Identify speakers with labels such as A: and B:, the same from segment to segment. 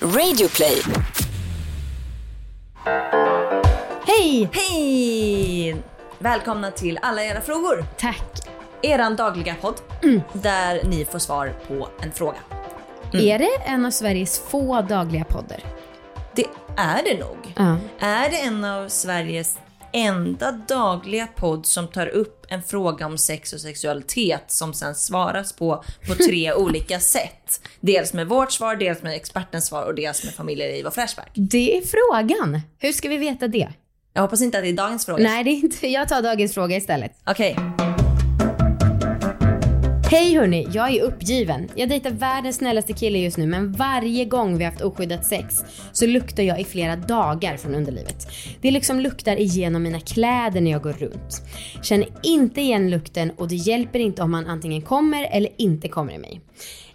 A: Radioplay.
B: Hej!
C: Hej! Välkomna till alla era frågor.
B: Tack.
C: Eran dagliga podd där ni får svar på en fråga.
B: Är det en av Sveriges få dagliga poddar?
C: Det är det nog.
B: Ja.
C: Är det en av Sveriges enda dagliga podd som tar upp en fråga om sex och sexualitet som sen svaras på på tre olika sätt. Dels med vårt svar, dels med expertens svar och dels med familjeliv och Flashback.
B: Det är frågan. Hur ska vi veta det?
C: Jag hoppas inte att det är dagens fråga.
B: Nej, det är inte. Jag tar dagens fråga istället.
C: Okej.
B: Hej hörni, jag är uppgiven. Jag dejtar världens snällaste kille just nu men varje gång vi haft oskyddat sex så luktar jag i flera dagar från underlivet. Det liksom luktar igenom mina kläder när jag går runt. Känner inte igen lukten och det hjälper inte om han antingen kommer eller inte kommer i mig.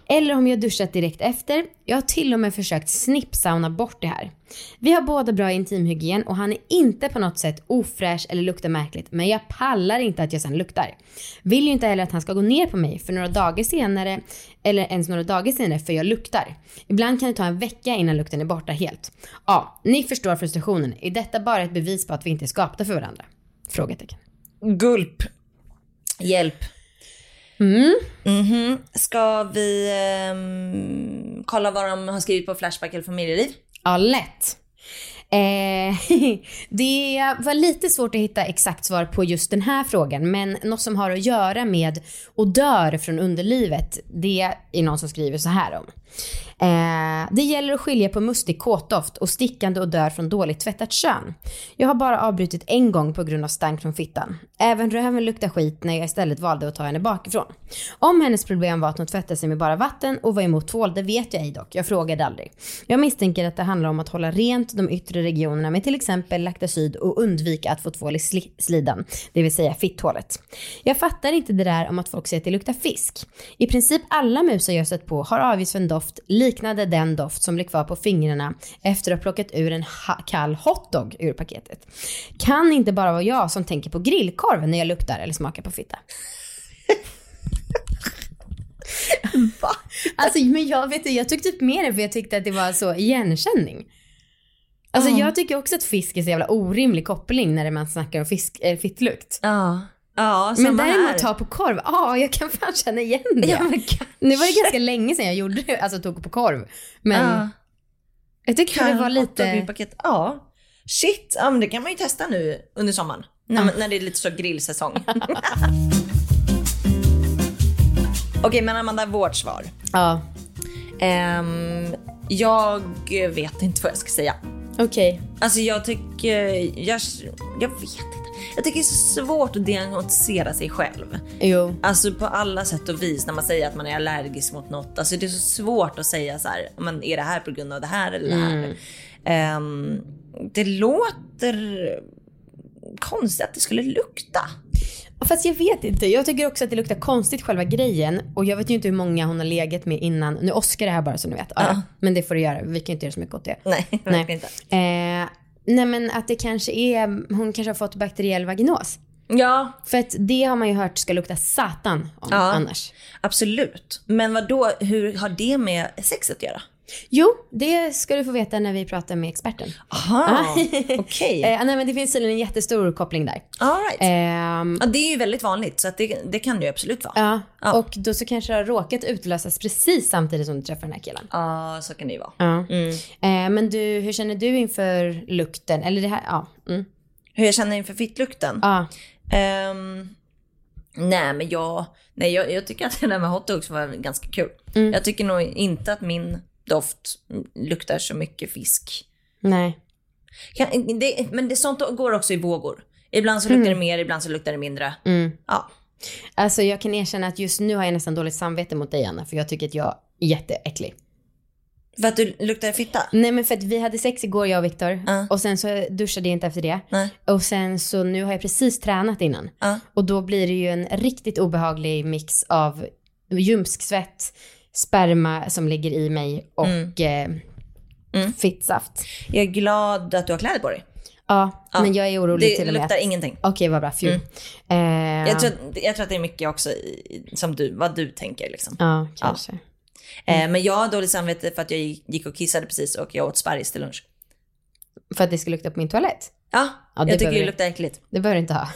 B: Eller om jag duschat direkt efter. Jag har till och med försökt snippsauna bort det här. Vi har båda bra intimhygien och han är inte på något sätt ofräsch eller luktar märkligt men jag pallar inte att jag sen luktar. Vill ju inte heller att han ska gå ner på mig för några dagar senare eller ens några dagar senare för jag luktar. Ibland kan det ta en vecka innan lukten är borta helt. Ja, ni förstår frustrationen. Är detta bara ett bevis på att vi inte är skapta för varandra? Frågetecken.
C: Gulp. Hjälp.
B: Mm.
C: Mhm. Ska vi ehm, kolla vad de har skrivit på Flashback eller familjeliv?
B: Ja, lätt. Eh, det var lite svårt att hitta exakt svar på just den här frågan, men något som har att göra med odör från underlivet, det är någon som skriver så här om. Eh, det gäller att skilja på mustig kåtdoft och stickande odör från dåligt tvättat kön. Jag har bara avbrutit en gång på grund av stank från fittan. Även röven luktar skit när jag istället valde att ta henne bakifrån. Om hennes problem var att hon tvättade sig med bara vatten och var emot tvål, det vet jag ej dock. Jag frågade aldrig. Jag misstänker att det handlar om att hålla rent de yttre regionerna med till exempel laktosid och undvika att få tvål i sli- slidan, det vill säga fitthålet. Jag fattar inte det där om att folk säger att det luktar fisk. I princip alla musar jag stött på har avgivits en doft liknande den doft som blir kvar på fingrarna efter att ha plockat ur en ha- kall hotdog ur paketet. Kan inte bara vara jag som tänker på grillkorv när jag luktar eller smakar på fitta. Alltså men jag vet inte, jag tog typ med det för jag tyckte att det var så igenkänning. Alltså
C: Ja.
B: jag tycker också att fisk är så jävla orimlig koppling när man snackar om fisk, eh, fittlukt.
C: Ja. Ja,
B: Men
C: samma här.
B: däremot ta på korv, ja ah, jag kan fan känna igen det.
C: Ja, men kan-
B: nu var det ganska länge sedan jag gjorde det, alltså tog på korv. Men
C: Ja.
B: jag tycker det var
C: Hot dog i
B: lite,
C: paket. Ja. Shit, ja, men det kan man ju testa nu under sommaren. När, när det är lite så grillsäsong. Okej, men Amanda, vårt svar.
B: ja
C: Ehm, jag vet inte vad jag ska säga.
B: okej.
C: Alltså jag tycker, jag, jag vet inte. Jag tycker det är så svårt att diagnostisera sig själv.
B: Jo.
C: Alltså på alla sätt och vis när man säger att man är allergisk mot något. Alltså det är så svårt att säga så här, men är det här på grund av det här eller det här? Ehm, det låter konstigt att det skulle lukta.
B: Fast jag vet inte, jag tycker också att det luktar konstigt själva grejen och jag vet ju inte hur många hon har legat med innan. Nu åskar det här bara så ni vet. Ja,
C: Ja.
B: Men det får du göra, vi kan ju inte göra så mycket åt det.
C: Nej, verkligen inte.
B: Eh, nej men att det kanske är, hon kanske har fått bakteriell vaginos.
C: Ja,
B: För att det har man ju hört ska lukta satan om
C: Ja.
B: annars.
C: absolut. Men vad då? hur har det med sex att göra?
B: Jo, det ska du få veta när vi pratar med experten.
C: Aha, okej.
B: Eh, nej men det finns tydligen en jättestor koppling där.
C: All right.
B: Ehm,
C: Ja, det är ju väldigt vanligt så att det, det kan det ju absolut vara.
B: ja.
C: Ja.
B: Och då så kanske det har råkat utlösas precis samtidigt som du träffar den här killen.
C: Ja, så kan det ju vara.
B: Ja. Eh, men du, hur känner du inför lukten? Eller det här, ja. Mm.
C: Hur jag känner inför fittlukten?
B: ja.
C: Ehm, nej, men jag, nej, jag, jag tycker att det där med hotdogs var ganska kul.
B: Mm.
C: Jag tycker nog inte att min doft luktar så mycket fisk.
B: Nej.
C: Kan, det, men det, sånt går också i vågor. Ibland så luktar det mer, ibland så luktar det mindre.
B: Mm.
C: Ja.
B: Alltså jag kan erkänna att just nu har jag nästan dåligt samvete mot dig Anna för jag tycker att jag är jätteäcklig.
C: För att du luktar fitta?
B: Nej men för att vi hade sex igår jag och Viktor
C: Ja.
B: och sen så duschade jag inte efter det.
C: Nej.
B: Och sen så nu har jag precis tränat innan.
C: Ja.
B: Och då blir det ju en riktigt obehaglig mix av ljumsksvett, sperma som ligger i mig och
C: Mm.
B: eh, fittsaft.
C: Jag är glad att du har kläder på dig.
B: Ja,
C: Ja.
B: men jag är orolig
C: Det
B: till och med.
C: luktar Mm.
B: att-
C: ingenting.
B: Okej, vad bra. Fju. Eh,
C: Jag, tror, att- jag tror att det är mycket också i, som du, vad du tänker liksom.
B: Ja, kanske.
C: Eh, men jag har dåligt samvete för att jag gick och kissade precis och jag åt sparris till lunch.
B: För att det ska lukta på min toalett.
C: Ja,
B: Ja, det
C: jag tycker
B: behöver-
C: det luktar äckligt.
B: Det behöver du inte ha.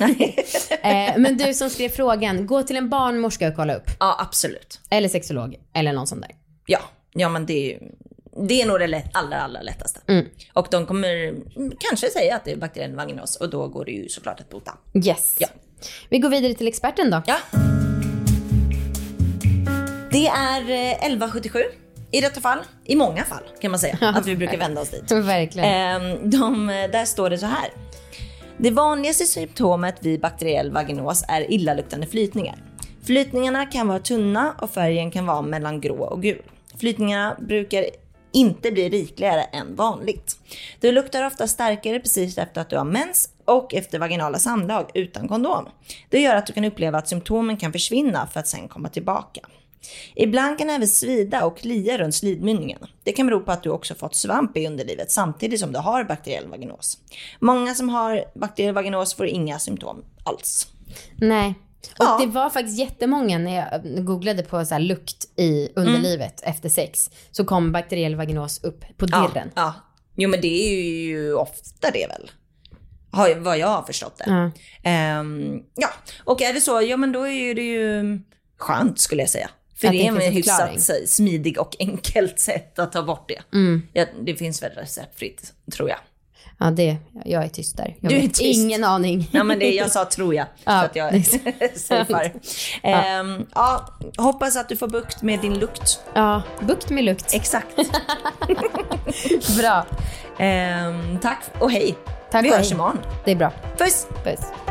B: eh, men du som skrev frågan, gå till en barnmorska och kolla upp.
C: Ja, absolut.
B: Eller sexolog, eller någon sån där.
C: Ja, ja men det är ju... Det är nog det lätt, allra, allra lättaste.
B: Mm.
C: Och de kommer mm, kanske säga att det är bakterien vagnos och då går det ju såklart att bota.
B: Yes.
C: Ja.
B: Vi går vidare till experten då.
C: Ja. Det är eh, 1177 i detta fall. I många fall kan man säga att vi brukar vända oss dit.
B: Verkligen.
C: Ehm, de, där står det så här. Det vanligaste symptomet vid bakteriell vaginos är illaluktande flytningar. Flytningarna kan vara tunna och färgen kan vara mellan grå och gul. Flytningarna brukar inte bli rikligare än vanligt. Du luktar ofta starkare precis efter att du har mens och efter vaginala samlag utan kondom. Det gör att du kan uppleva att symptomen kan försvinna för att sen komma tillbaka. Ibland kan även svida och klia runt slidmynningen. Det kan bero på att du också fått svamp i underlivet samtidigt som du har bakteriell vaginos. Många som har bakteriell vaginos får inga symptom alls.
B: Nej. Och
C: Ja.
B: det var faktiskt jättemånga när jag eh, googlade på så här lukt i underlivet efter sex. Så kom bakteriell vaginos upp på
C: Ja,
B: dirren.
C: ja. Jo men det är ju ofta det väl. Har, vad jag har förstått det.
B: Ja.
C: Ehm, ja, och är det så, ja men då är det ju skönt skulle jag säga. För
B: Att
C: det
B: det
C: är en
B: finns en
C: hyfsat
B: förklaring.
C: så- smidig och enkelt sätt att ta bort det.
B: Mm.
C: Ja, det finns väl receptfritt, tror jag.
B: Ja, det, jag är tyst där. Jag
C: Du är
B: vet
C: tyst.
B: Ingen aning.
C: Ja, men det, jag sa tror jag.
B: Ja,
C: så att jag safear. Ehm, ja, hoppas att du får bukt med din lukt.
B: Ja, bukt med lukt.
C: Exakt.
B: Bra.
C: Ehm, tack och hej.
B: Tack
C: Vi
B: och
C: hörs
B: hej.
C: imorgon.
B: Det är bra.
C: Puss!
B: Puss.